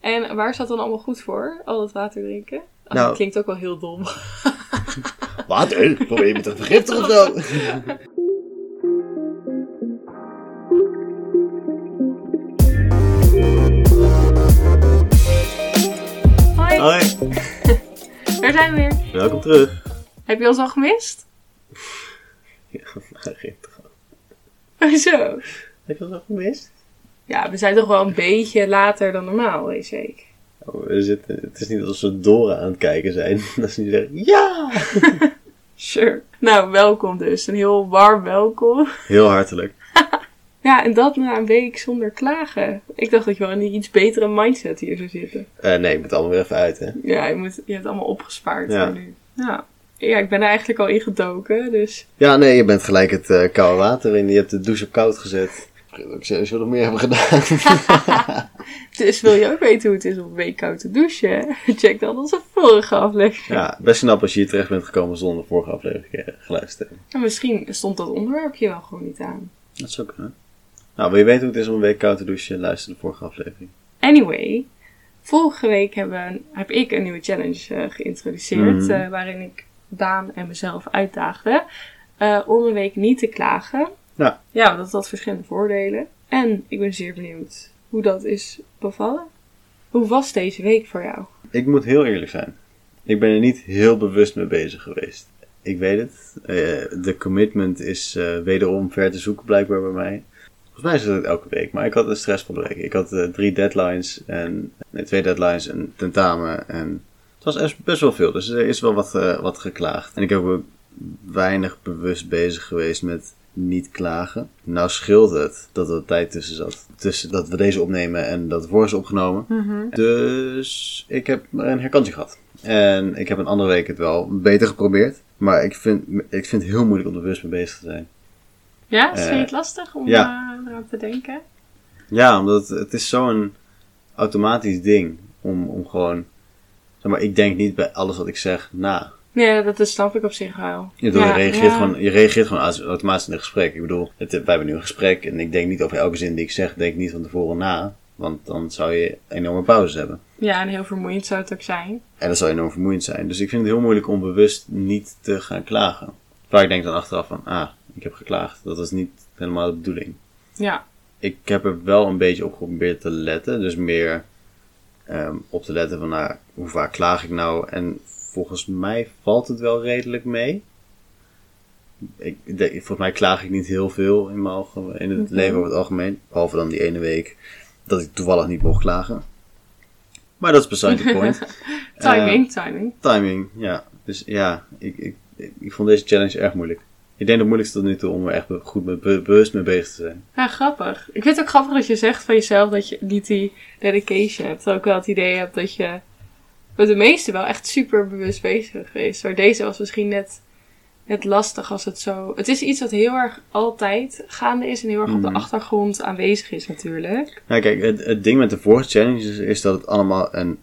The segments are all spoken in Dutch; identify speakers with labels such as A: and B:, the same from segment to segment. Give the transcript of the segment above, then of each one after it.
A: En waar is dat dan allemaal goed voor? Al dat water drinken? Ah,
B: Nou.
A: Dat klinkt ook wel heel dom.
B: Water? Probeer je me te vergiftigen of zo?
A: Hoi,
B: Hoi,
A: daar zijn we weer.
B: welkom terug.
A: Heb je ons al gemist?
B: Vergiftig.
A: Hoezo?
B: Heb je ons al gemist?
A: Oh, Ja, we zijn toch wel een beetje later dan normaal deze week.
B: Oh, we zitten, het is niet alsof ze Dora aan het kijken zijn. Dat ze niet zeggen, ja!
A: Sure. Nou, welkom dus. Een heel warm welkom.
B: Heel hartelijk.
A: Ja, en dat na een week zonder klagen. Ik dacht dat je wel in een iets betere mindset hier zou zitten.
B: Eh, nee, ik moet allemaal weer even uit, hè.
A: Ja, je, moet, je hebt het allemaal opgespaard
B: Ja.
A: voor nu. Ja. ja, ik ben er eigenlijk al ingedoken, dus...
B: Ja, nee, je bent gelijk het eh, koude water in. Je hebt de douche op koud gezet. Ik weet ook serieus wat nog meer hebben gedaan.
A: Dus wil je ook weten hoe het is om een week koud te douchen? Check dan onze vorige aflevering.
B: ja, best knap als je hier terecht bent gekomen zonder de vorige aflevering eh, geluisterd te hebben.
A: En misschien stond dat onderwerpje wel gewoon niet aan.
B: Dat zou kunnen. Nou, wil je weten hoe het is om een week koud te douchen? Luister de vorige aflevering.
A: Anyway, vorige week hebben we een- heb ik een nieuwe challenge eh, geïntroduceerd.
B: Mhm.
A: eh, waarin ik Daan en mezelf uitdaagde eh, om een week niet te klagen.
B: Ja.
A: Ja, want dat had verschillende voordelen. En ik ben zeer benieuwd hoe dat is bevallen. Hoe was deze week voor jou?
B: Ik moet heel eerlijk zijn. Ik ben er niet heel bewust mee bezig geweest. Ik weet het. eh, de commitment is eh, wederom ver te zoeken blijkbaar bij mij. Volgens mij is dat het elke week, maar ik had een stressvolle week. Ik had eh, drie deadlines en nee, twee deadlines, een tentamen en het was echt best wel veel. Dus er is wel wat, eh, wat geklaagd. En ik heb ook weinig bewust bezig geweest met niet klagen. Nou scheelt het dat er tijd tussen zat. Tussen dat we deze opnemen en dat het voor is opgenomen. Dus ik heb een herkansing gehad. En ik heb een andere week het wel beter geprobeerd. Maar ik vind, ik vind het heel moeilijk om er bewust mee bezig te zijn.
A: Ja,
B: Eh,
A: vind je het lastig om
B: ja.
A: eh, eraan te denken?
B: Ja, omdat het is zo'n automatisch ding. Om, om gewoon... Zeg maar, ik denk niet bij alles wat ik zeg na.
A: Nee, dat, dat snap ik op zich wel.
B: Je, bedoel, je
A: Ja,
B: reageert
A: ja.
B: gewoon, je reageert gewoon auto- automatisch in een gesprek. Ik bedoel, het, wij hebben nu een gesprek. En ik denk niet over elke zin die ik zeg. Denk niet van tevoren na. Want dan zou je enorme pauzes hebben.
A: Ja, en heel vermoeiend zou het ook zijn.
B: En dat zou enorm vermoeiend zijn. Dus ik vind het heel moeilijk om bewust niet te gaan klagen. Waar ik denk dan achteraf van, ah, ik heb geklaagd. Dat was niet helemaal de bedoeling.
A: Ja.
B: Ik heb er wel een beetje op geprobeerd te letten. Dus meer ehm, op te letten van, nou, hoe vaak klaag ik nou? En volgens mij valt het wel redelijk mee. Ik, ik denk- volgens mij klaag ik niet heel veel in, mijn alge- in het
A: Mhm.
B: leven over het algemeen. Behalve dan die ene week dat ik toevallig niet mocht klagen. Maar dat is beside the point. Eh,
A: Timing, timing.
B: Timing, ja. Dus ja, ik, ik, ik, ik vond deze challenge erg moeilijk. Ik denk het moeilijkste tot nu toe om er echt be- goed mee, be- bewust mee bezig te zijn.
A: Ja, grappig. Ik vind het ook grappig dat je zegt van jezelf dat je niet die dedication hebt. Ook wel het idee hebt dat je met de meeste wel echt super bewust bezig is. Maar deze was misschien net, net lastig als het zo... Het is iets wat heel erg altijd gaande is en heel erg op
B: Mhm.
A: de achtergrond aanwezig is natuurlijk.
B: Nou kijk, het, het ding met de vorige challenge is, is dat het allemaal een,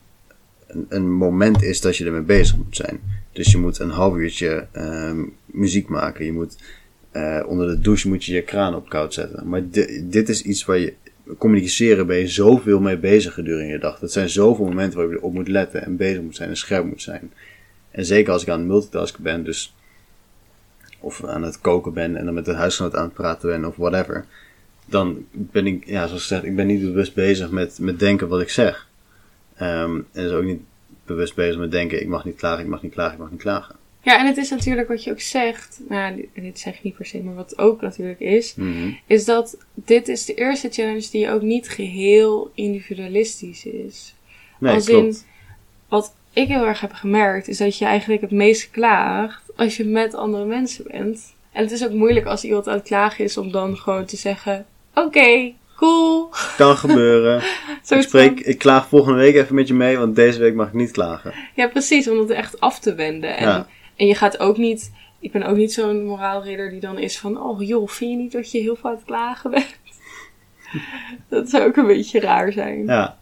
B: een, een moment is dat je ermee bezig moet zijn. Dus je moet een half uurtje ehm, muziek maken. Je moet eh, onder de douche moet je je kraan op koud zetten. Maar di- dit is iets waar je communiceren ben je zoveel mee bezig gedurende je dag. Dat zijn zoveel momenten waarop je op moet letten en bezig moet zijn en scherp moet zijn. En zeker als ik aan het multitasken ben, dus of aan het koken ben en dan met een huisgenoot aan het praten ben of whatever, dan ben ik, ja, zoals gezegd, ik ben niet bewust bezig met, met denken wat ik zeg. Ehm, en dus ook niet bewust bezig met denken, ik mag niet klagen, ik mag niet klagen, ik mag niet klagen.
A: Ja, en het is natuurlijk wat je ook zegt. Nou, dit- dit zeg ik niet per se, maar wat ook natuurlijk is. is dat dit is de eerste challenge die ook niet geheel individualistisch is.
B: Nee,
A: Als in-
B: klopt.
A: wat ik heel erg heb gemerkt, is dat je eigenlijk het meest klaagt als je met andere mensen bent. En het is ook moeilijk als iemand aan het klagen is om dan gewoon te zeggen: Oké, cool.
B: Kan gebeuren. ik,
A: Soort
B: spreek, ik klaag volgende week even met je mee, want deze week mag ik niet klagen.
A: van- ja, precies, om het echt af te wenden. En,
B: Ja.
A: en je gaat ook niet. Ik ben ook niet zo'n moraalridder die dan is van: Oh joh, vind je niet dat je heel veel aan het klagen bent? dat zou ook een beetje raar zijn.
B: Ja.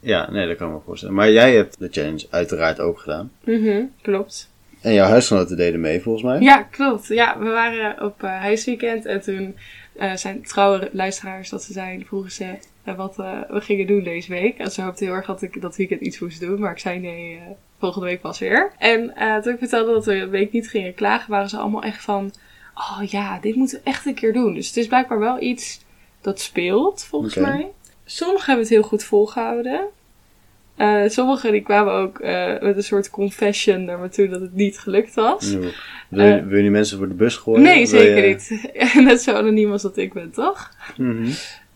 B: Ja, nee, dat kan ik me voorstellen. Maar jij hebt de challenge uiteraard ook gedaan.
A: Mhm, klopt.
B: En jouw huisgenoten deden mee, volgens mij.
A: Ja, klopt. Ja, we waren op eh, huisweekend en toen eh, zijn trouwe luisteraars dat ze zijn, vroegen ze... eh, wat eh, we gingen doen deze week. En ze hoopte heel erg dat ik dat weekend iets moest doen. Maar ik zei nee, eh, volgende week pas weer. En eh, toen ik vertelde dat we een week niet gingen klagen, waren ze allemaal echt van... Oh ja, dit moeten we echt een keer doen. Dus het is blijkbaar wel iets dat speelt, volgens
B: Oké.
A: mij. Sommigen hebben het heel goed volgehouden. Eh, sommigen die kwamen ook eh, met een soort confession naar me toe dat het niet gelukt was.
B: Wil, wil je-
A: Eh.
B: wil je nu mensen voor de bus gooien? Wil
A: Nee,
B: je-
A: zeker niet. Net zo anoniem als dat ik ben, toch?
B: Mhm.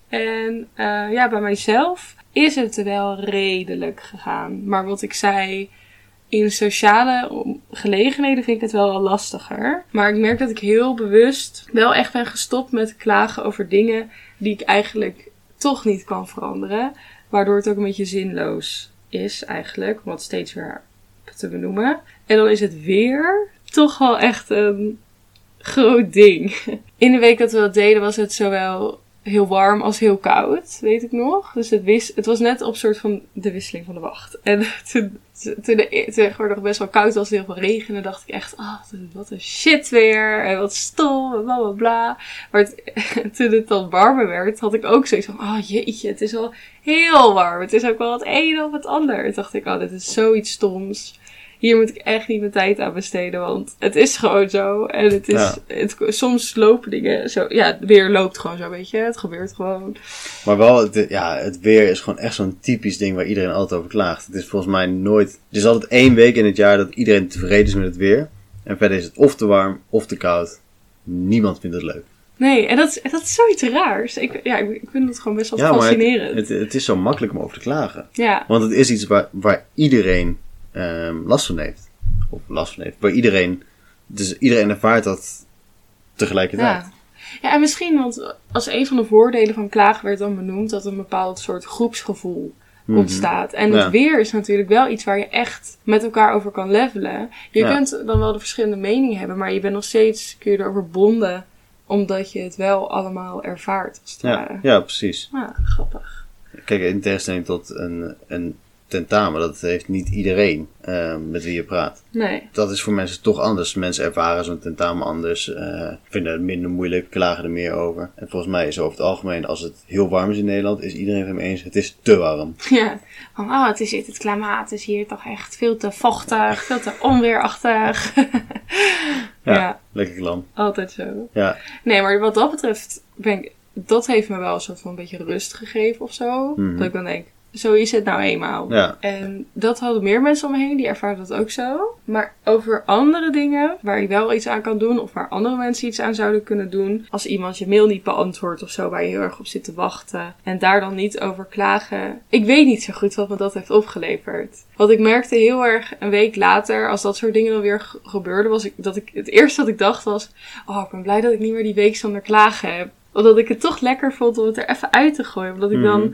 A: En eh, ja, bij mijzelf is het wel redelijk gegaan. Maar wat ik zei, in sociale om- gelegenheden vind ik het wel al lastiger. Maar ik merk dat ik heel bewust wel echt ben gestopt met klagen over dingen die ik eigenlijk toch niet kan veranderen. Waardoor het ook een beetje zinloos is eigenlijk, om dat steeds weer te benoemen. En dan is het weer toch wel echt een groot ding. In de week dat we dat deden was het zowel heel warm als heel koud, weet ik nog. Dus het, wis, het was net op soort van de wisseling van de wacht. En toen, toen, de, e-, toen het gewoon nog best wel koud was en heel veel regen, dan dacht ik echt, ah, wat een shit weer. En wat stom, en bla bla bla. Maar het- toen het dan warmer werd, had ik ook zoiets van, oh jeetje, het is wel heel warm. Het is ook wel het een of het ander. Toen dacht ik, oh, dit is zoiets stoms. Hier moet ik echt niet mijn tijd aan besteden, want het is gewoon zo. En het is,
B: Ja.
A: het, soms lopen dingen zo. Ja, het weer loopt gewoon zo, weet je. Het gebeurt gewoon.
B: Maar wel, het, ja, het weer is gewoon echt zo'n typisch ding waar iedereen altijd over klaagt. Het is volgens mij nooit... Er is altijd één week in het jaar dat iedereen tevreden is met het weer. En verder is het of te warm of te koud. Niemand vindt het leuk.
A: Nee, en dat is, dat is zoiets raars. Ik, ja, ik, ik vind dat gewoon best wel fascinerend.
B: het, het, het is zo makkelijk om over te klagen.
A: ja,
B: Want het is iets waar, waar iedereen ehm, last van heeft. Of last van heeft. Waar iedereen... Dus iedereen ervaart dat tegelijkertijd.
A: ja. Ja, en misschien, want als een van de voordelen van klagen werd dan benoemd, dat een bepaald soort groepsgevoel ontstaat. En
B: Mhm. Ja.
A: het weer is natuurlijk wel iets waar je echt met elkaar over kan levelen. Je
B: Ja.
A: kunt dan wel de verschillende meningen hebben, maar je bent nog steeds, kun je erover bonden, omdat je het wel allemaal ervaart, als het
B: Ja,
A: ware.
B: ja, precies.
A: Ja, grappig.
B: Kijk, in tegenstelling tot een, een tentamen, dat heeft niet iedereen eh, met wie je praat.
A: Nee.
B: Dat is voor mensen toch anders. Mensen ervaren zo'n tentamen anders, eh, vinden het minder moeilijk, klagen er meer over. En volgens mij is over het algemeen, als het heel warm is in Nederland, is iedereen het ermee eens, het is te warm.
A: Ja, van oh, het is dit, het klimaat is hier toch echt veel te vochtig, veel te onweerachtig. ja.
B: Lekker klam.
A: altijd zo.
B: Ja,
A: Nee, maar wat dat betreft ben ik, dat heeft me wel een soort van een beetje rust gegeven of zo.
B: Mhm.
A: Dat ik dan denk, zo is het nou eenmaal.
B: ja.
A: En dat hadden meer mensen om me heen, die ervaren dat ook zo. Maar over andere dingen, waar je wel iets aan kan doen, of waar andere mensen iets aan zouden kunnen doen. Als iemand je mail niet beantwoordt of zo, waar je heel erg op zit te wachten. En daar dan niet over klagen. Ik weet niet zo goed wat me dat heeft opgeleverd. Wat ik merkte heel erg een week later, als dat soort dingen dan weer ge- gebeurden, was ik, dat ik het eerste wat ik dacht was: Oh, ik ben blij dat ik niet meer die week zonder klagen heb. Omdat ik het toch lekker vond om het er even uit te gooien. Omdat ik dan
B: Mhm.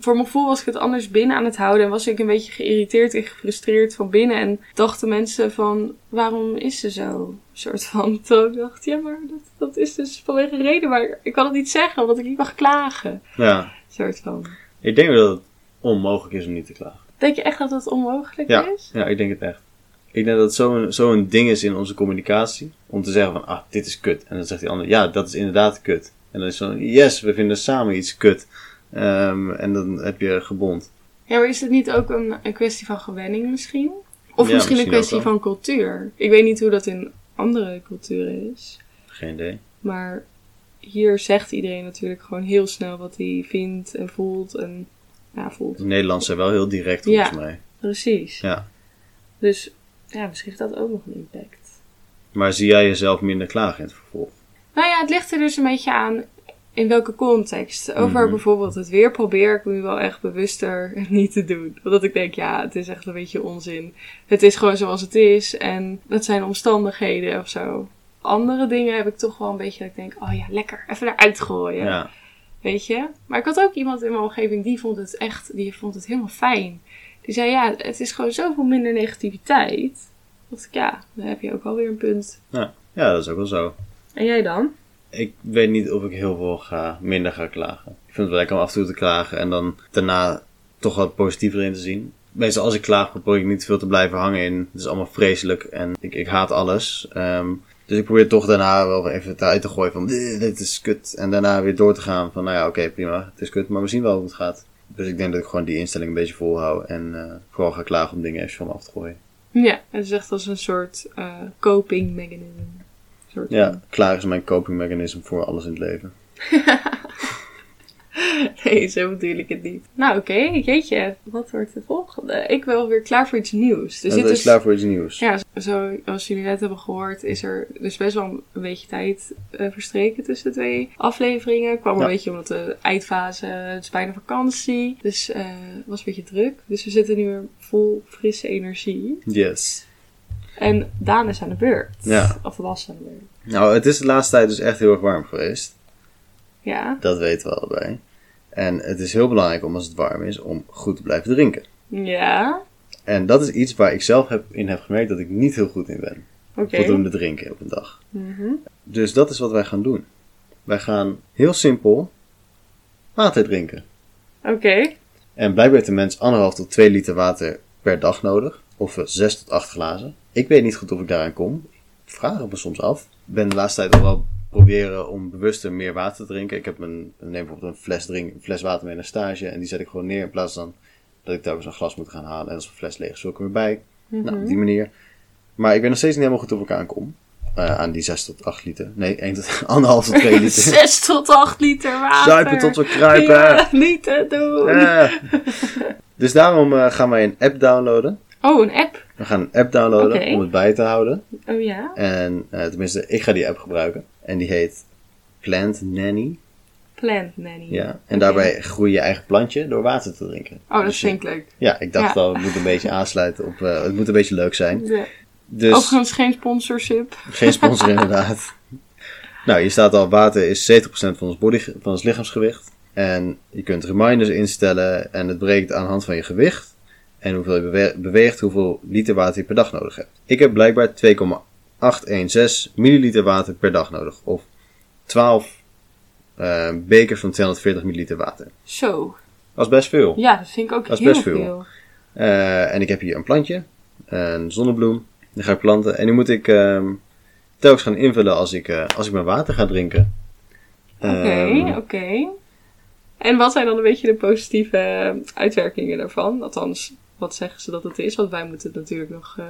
A: voor mijn gevoel was ik het anders binnen aan het houden. En was ik een beetje geïrriteerd en gefrustreerd van binnen. En dachten mensen van, waarom is ze zo? Een soort van. Toen ik dacht, ja, maar dat, dat is dus vanwege een reden. Maar ik kan het niet zeggen, omdat ik niet mag klagen. Een
B: ja.
A: soort van.
B: Ik denk dat het onmogelijk is om niet te klagen.
A: Denk je echt dat dat onmogelijk
B: Ja,
A: is?
B: ja ik denk het echt. Ik denk dat het zo'n zo'n ding is in onze communicatie. Om te zeggen van, ah, dit is kut. En dan zegt die ander, ja, dat is inderdaad kut. En dan is zo'n, yes, we vinden samen iets kut. Ehm, en dan heb je gebond.
A: Ja, maar is het niet ook een, een kwestie van gewenning misschien? Of
B: Ja,
A: misschien
B: misschien
A: een
B: ook
A: kwestie
B: wel.
A: van cultuur? Ik weet niet hoe dat in andere culturen is.
B: Geen idee.
A: Maar hier zegt iedereen natuurlijk gewoon heel snel wat hij vindt en voelt en ja, voelt.
B: De Nederlanders zijn wel heel direct, volgens
A: Ja.
B: mij.
A: Precies.
B: Ja.
A: Dus ja, misschien heeft dat ook nog een impact.
B: Maar zie jij jezelf minder klagen in het vervolg?
A: Nou ja, het ligt er dus een beetje aan in welke context. Over
B: Mhm.
A: bijvoorbeeld het weer probeer ik nu wel echt bewuster niet te doen. Omdat ik denk, ja, het is echt een beetje onzin. Het is gewoon zoals het is en dat zijn omstandigheden of zo. Andere dingen heb ik toch wel een beetje dat ik denk, oh ja, lekker, even eruit gooien.
B: Ja.
A: Weet je? Maar ik had ook iemand in mijn omgeving die vond het echt, die vond het helemaal fijn. Die zei, ja, het is gewoon zoveel minder negativiteit. Dacht ik, ja, dan heb je ook alweer een punt.
B: Ja. ja, dat is ook wel zo.
A: En jij dan?
B: Ik weet niet of ik heel veel ga, minder ga klagen. Ik vind het wel lekker om af en toe te klagen en dan daarna toch wat positiever in te zien. Meestal als ik klaag probeer ik niet veel te blijven hangen in. Het is allemaal vreselijk en ik, ik haat alles. Ehm, Dus ik probeer toch daarna wel even het uit te gooien van "Eh, dit is kut. En daarna weer door te gaan van nou ja, oké prima, het is kut, maar we zien wel hoe het gaat. Dus ik denk dat ik gewoon die instelling een beetje volhoud en eh, vooral ga klagen om dingen even van me af te gooien.
A: Ja, het is echt als een soort eh, coping mechanism. Een soort
B: Ja, klaar is mijn coping mechanism voor alles in het leven.
A: Nee, zo bedoel ik het niet. Nou, oké, jeetje. Wat wordt de volgende? Ik wil weer klaar voor iets nieuws. Dus
B: Dus dat
A: dit
B: is klaar voor iets nieuws.
A: Ja, zoals jullie net hebben gehoord, is er dus best wel een beetje tijd eh, verstreken tussen de twee afleveringen. Kwam
B: Ja.
A: een beetje omdat de eindfase, het is bijna vakantie, dus eh was een beetje druk. Dus we zitten nu weer vol frisse energie.
B: Yes.
A: En Daan is aan de beurt.
B: Ja.
A: Of was aan de beurt.
B: Nou, het is de laatste tijd dus echt heel erg warm geweest.
A: Ja.
B: Dat weten we allebei. En het is heel belangrijk om als het warm is, om goed te blijven drinken.
A: Ja.
B: En dat is iets waar ik zelf heb, in heb gemerkt dat ik niet heel goed in ben.
A: Oké.
B: Voldoende drinken op een dag.
A: Mhm.
B: Dus dat is wat wij gaan doen. Wij gaan heel simpel water drinken.
A: Oké.
B: En blijkbaar heeft een mens anderhalf tot twee liter water per dag nodig. Of eh, zes tot acht glazen. Ik weet niet goed of ik daaraan kom. Ik vraag het me soms af. Ik ben de laatste tijd al wel proberen om bewuster meer water te drinken. Ik heb een, ik neem bijvoorbeeld een fles, drink, een fles water mee naar stage. En die zet ik gewoon neer in plaats van dat ik telkens een glas moet gaan halen. En als een fles leeg is, zoek ik hem erbij. Nou, op die manier. Maar ik weet nog steeds niet helemaal goed of ik aan kom. Eh, aan die 6 tot 8 liter. Nee, 1 tot 1,5 tot 2 liter.
A: 6 tot 8 liter water.
B: Zuipen tot we kruipen.
A: Ja, niet te doen.
B: Eh. Dus daarom eh, gaan wij een app downloaden.
A: Oh, een app.
B: We gaan een app downloaden
A: Oké.
B: om het bij te houden.
A: Oh ja.
B: En eh, tenminste, ik ga die app gebruiken. En die heet Plant Nanny.
A: Plant Nanny.
B: Ja. En
A: Oké.
B: daarbij groei je eigen plantje door water te drinken.
A: Oh, dat
B: Dus je-
A: vind ik leuk.
B: Ja, ik dacht
A: Ja.
B: al, het moet een beetje aansluiten op. eh, het moet een beetje leuk zijn.
A: Ja.
B: Dus
A: Overigens geen sponsorship.
B: geen sponsor inderdaad. Nou, hier staat al: water is 70% van ons, body, van ons lichaamsgewicht. En je kunt reminders instellen. En het breekt aan de hand van je gewicht. En hoeveel je bewe- beweegt, hoeveel liter water je per dag nodig hebt. Ik heb blijkbaar 2,816 milliliter water per dag nodig. Of 12 eh, bekers van 240 milliliter water.
A: Zo.
B: Dat is best veel.
A: Ja, dat vind ik ook
B: Dat is
A: heel
B: best veel. Eh, en ik heb hier een plantje, een zonnebloem. Die ga ik planten. En die moet ik ehm, telkens gaan invullen als ik, eh, als ik mijn water ga drinken.
A: Oké,
B: Ehm,
A: oké. En wat zijn dan een beetje de positieve eh, uitwerkingen daarvan? Althans, wat zeggen ze dat het is? Want wij moeten het natuurlijk nog eh,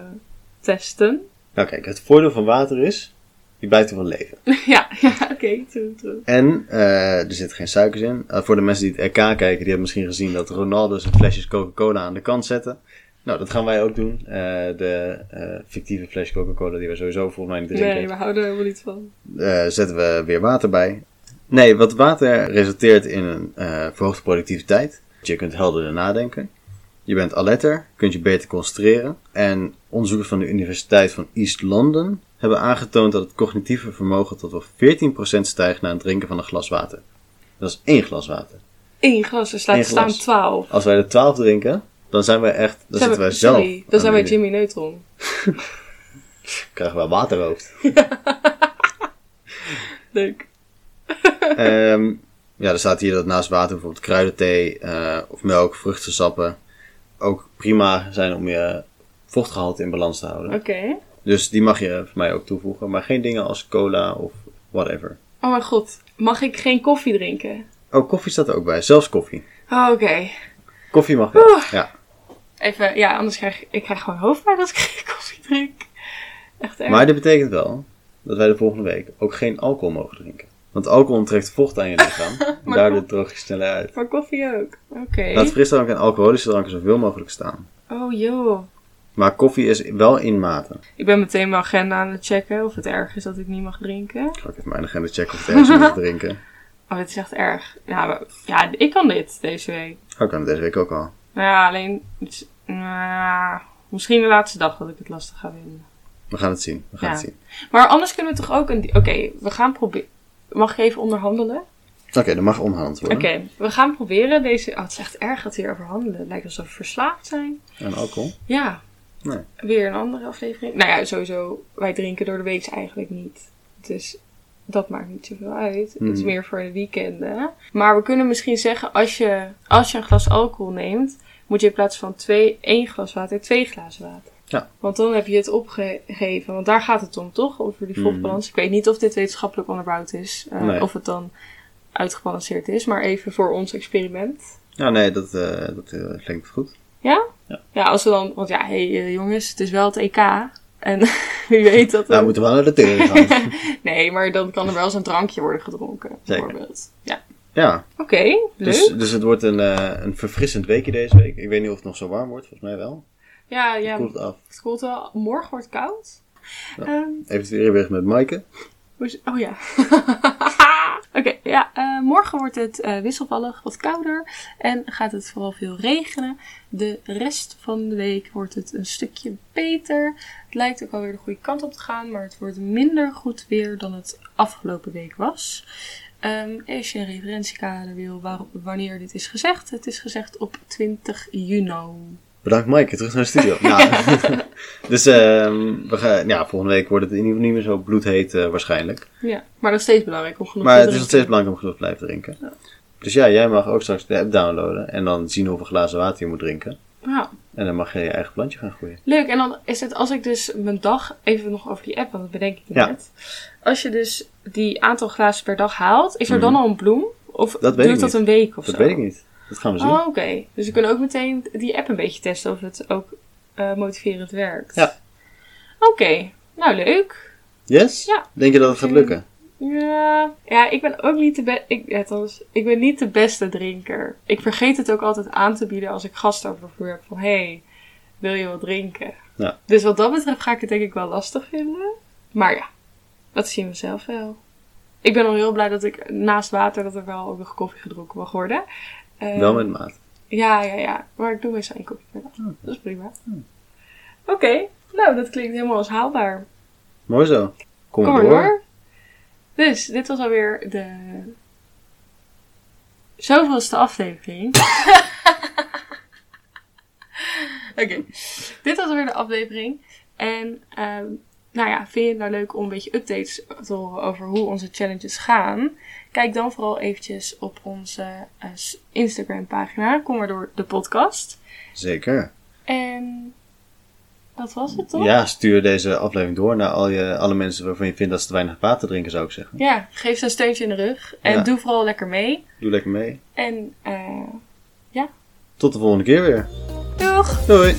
A: testen.
B: Nou kijk, het voordeel van water is, je blijft ervan leven.
A: ja, ja oké. true, true.
B: En eh, er zitten geen suikers in. Eh, voor de mensen die het RK kijken, die hebben misschien gezien dat Ronaldo zijn flesjes Coca-Cola aan de kant zette. Nou, dat gaan wij ook doen. Eh, de eh, fictieve flesje Coca-Cola die we sowieso volgens mij niet drinken.
A: Nee, we houden er helemaal niet van.
B: eh, zetten we weer water bij. Nee, wat water resulteert in een eh, verhoogde productiviteit. Je kunt helderder nadenken. Je bent alerter, kunt je beter concentreren. En onderzoekers van de Universiteit van East London hebben aangetoond dat het cognitieve vermogen tot wel 14% stijgt na het drinken van een glas water. Dat is één glas water.
A: Eén glas, er staat
B: Eén glas.
A: staan twaalf.
B: Als wij de 12 drinken, dan zijn wij echt, dan zitten wij zelf.
A: sorry, Dan zijn wij Jimmy Neutron.
B: Krijgen wij waterhoofd.
A: Leuk.
B: Ehm, ja, er staat hier dat naast water bijvoorbeeld kruidenthee eh, of melk, vruchtensappen ook prima zijn om je vochtgehalte in balans te houden.
A: Oké.
B: Dus die mag je voor mij ook toevoegen, maar geen dingen als cola of whatever.
A: Oh mijn god, mag ik geen koffie drinken?
B: Oh, koffie staat er ook bij, zelfs koffie.
A: Oh, oké.
B: Koffie mag wel.
A: Oeh.
B: Ja.
A: Even, ja, anders krijg ik, ik krijg gewoon hoofdpijn als ik geen koffie drink. Echt erg.
B: Maar dit betekent wel dat wij de volgende week ook geen alcohol mogen drinken. Want alcohol onttrekt vocht aan je lichaam en
A: Maar
B: daardoor
A: kom-
B: droog je sneller uit.
A: Maar koffie ook. Oké.
B: Laat frisdrank en alcoholische dranken zoveel mogelijk staan.
A: Oh joh.
B: Maar koffie is wel in mate.
A: Ik ben meteen mijn agenda aan het checken of het erg is dat ik niet mag drinken.
B: Ga ik even mijn agenda checken of het ergens is om te drinken.
A: Oh, dit is echt erg. Ja, maar- ja ik kan dit deze week.
B: Oh, ik kan het deze week ook al.
A: Nou ja, alleen... het is- nou, misschien de laatste dag dat ik het lastig ga vinden.
B: We gaan het zien. We gaan
A: Ja.
B: het zien.
A: Maar anders kunnen we toch ook een... di- Oké, we gaan proberen... Mag ik even onderhandelen?
B: Oké, dan mag onderhandeld
A: Oké,
B: worden.
A: we gaan proberen deze... Oh, het is echt erg dat we hierover handelen. Het lijkt alsof we verslaafd zijn.
B: En alcohol?
A: Ja.
B: Nee.
A: Weer een andere aflevering. Nou ja, sowieso, wij drinken door de week eigenlijk niet. Dus dat maakt niet zoveel uit. Het is
B: Mhm.
A: meer voor de weekenden. Maar we kunnen misschien zeggen, als je, als je een glas alcohol neemt, moet je in plaats van twee, één glas water, twee glazen water.
B: Ja.
A: Want dan heb je het opgegeven. Want daar gaat het om, toch? Over die volgbalans. Ik weet niet of dit wetenschappelijk onderbouwd is. eh,
B: Hmm. Nee.
A: Of het dan uitgebalanceerd is. Maar even voor ons experiment.
B: Ja, nee, dat, eh, dat eh, klinkt goed.
A: Ja?
B: Ja.
A: als we dan... Want ja, hé eh, jongens, het is wel het EK. En wie weet dat...
B: Nou, we
A: dan-
B: moeten wel naar de tering gaan.
A: Nee, maar dan kan er wel eens een drankje worden gedronken.
B: Zeker.
A: Bijvoorbeeld. Ja.
B: ja,
A: Oké, leuk.
B: dus, dus het wordt een, eh, een verfrissend weekje deze week. Ik weet niet of het nog zo warm wordt, volgens mij wel.
A: ja, ja.
B: Koelt het af.
A: Het koelt wel. Morgen wordt het koud.
B: Ja.
A: Ehm,
B: Even het weer weg met Maaike.
A: hoe is- oh ja. Oké, ja. eh, morgen wordt het eh, wisselvallig, wat kouder. En gaat het vooral veel regenen. De rest van de week wordt het een stukje beter. Het lijkt ook alweer de goede kant op te gaan. Maar het wordt minder goed weer dan het afgelopen week was. Ehm als je een referentiekader wil waar- wanneer dit is gezegd. Het is gezegd op 20 juni.
B: Bedankt Maaike, terug naar de studio. Nou, dus ehm, we gaan, ja, volgende week wordt het in ieder geval niet meer zo bloedheet eh, waarschijnlijk.
A: Ja, maar nog steeds belangrijk om genoeg
B: Maar
A: te
B: het is
A: drinken.
B: nog steeds belangrijk om genoeg te blijven drinken. Dus ja, jij mag ook straks de app downloaden en dan zien hoeveel glazen water je moet drinken.
A: Ja,
B: En dan mag je je eigen plantje gaan groeien.
A: leuk. En dan is het als ik dus mijn dag, even nog over die app, want dat bedenk ik
B: Ja.
A: net. Als je dus die aantal glazen per dag haalt, is er dan al een bloem? Of
B: Mhm. weet
A: duurt
B: ik
A: dat
B: niet.
A: een week of
B: Dat
A: zo?
B: weet ik niet. Dat gaan we zien.
A: Oh, oké. Dus we kunnen ook meteen die app een beetje testen of het ook eh, motiverend werkt.
B: Ja.
A: Oké, nou leuk.
B: Yes?
A: Ja.
B: Denk je dat het gaat lukken?
A: Ja, ja, ik ben ook niet de beste. Ik, ja, trouwens, ik ben niet de beste drinker. Ik vergeet het ook altijd aan te bieden als ik gasten over de vloer heb. Van hé, hey, wil je wat drinken?
B: Ja.
A: Dus wat dat betreft ga ik het denk ik wel lastig vinden. Maar ja, dat zien we zelf wel. Ik ben al heel blij dat ik naast water dat er wel ook nog koffie gedronken mag worden. Eh,
B: Wel met Oh. maat.
A: Ja, ja, ja. Maar ik doe meestal één kopje per dag. Dat is prima.
B: Hmm.
A: Oké, nou dat klinkt helemaal als haalbaar.
B: Mooi zo.
A: Kom
B: Kom, maar
A: maar
B: door.
A: door. Dus, dit was alweer de... Zoveelste aflevering. Oké. Dit was alweer de aflevering. En, ehm, nou ja, vind je het nou leuk om een beetje updates te horen over hoe onze challenges gaan? Kijk dan vooral eventjes op onze eh, s- Instagram pagina. Kom maar door de podcast.
B: Zeker.
A: En dat was het toch?
B: Ja, stuur deze aflevering door naar al je, alle mensen waarvan je vindt dat ze te weinig water drinken, zou ik zeggen.
A: Ja, geef ze een steuntje in de rug. En
B: Ja.
A: doe vooral lekker mee.
B: Doe lekker mee.
A: En eh
B: Tot de volgende keer weer.
A: doeg!
B: Doei!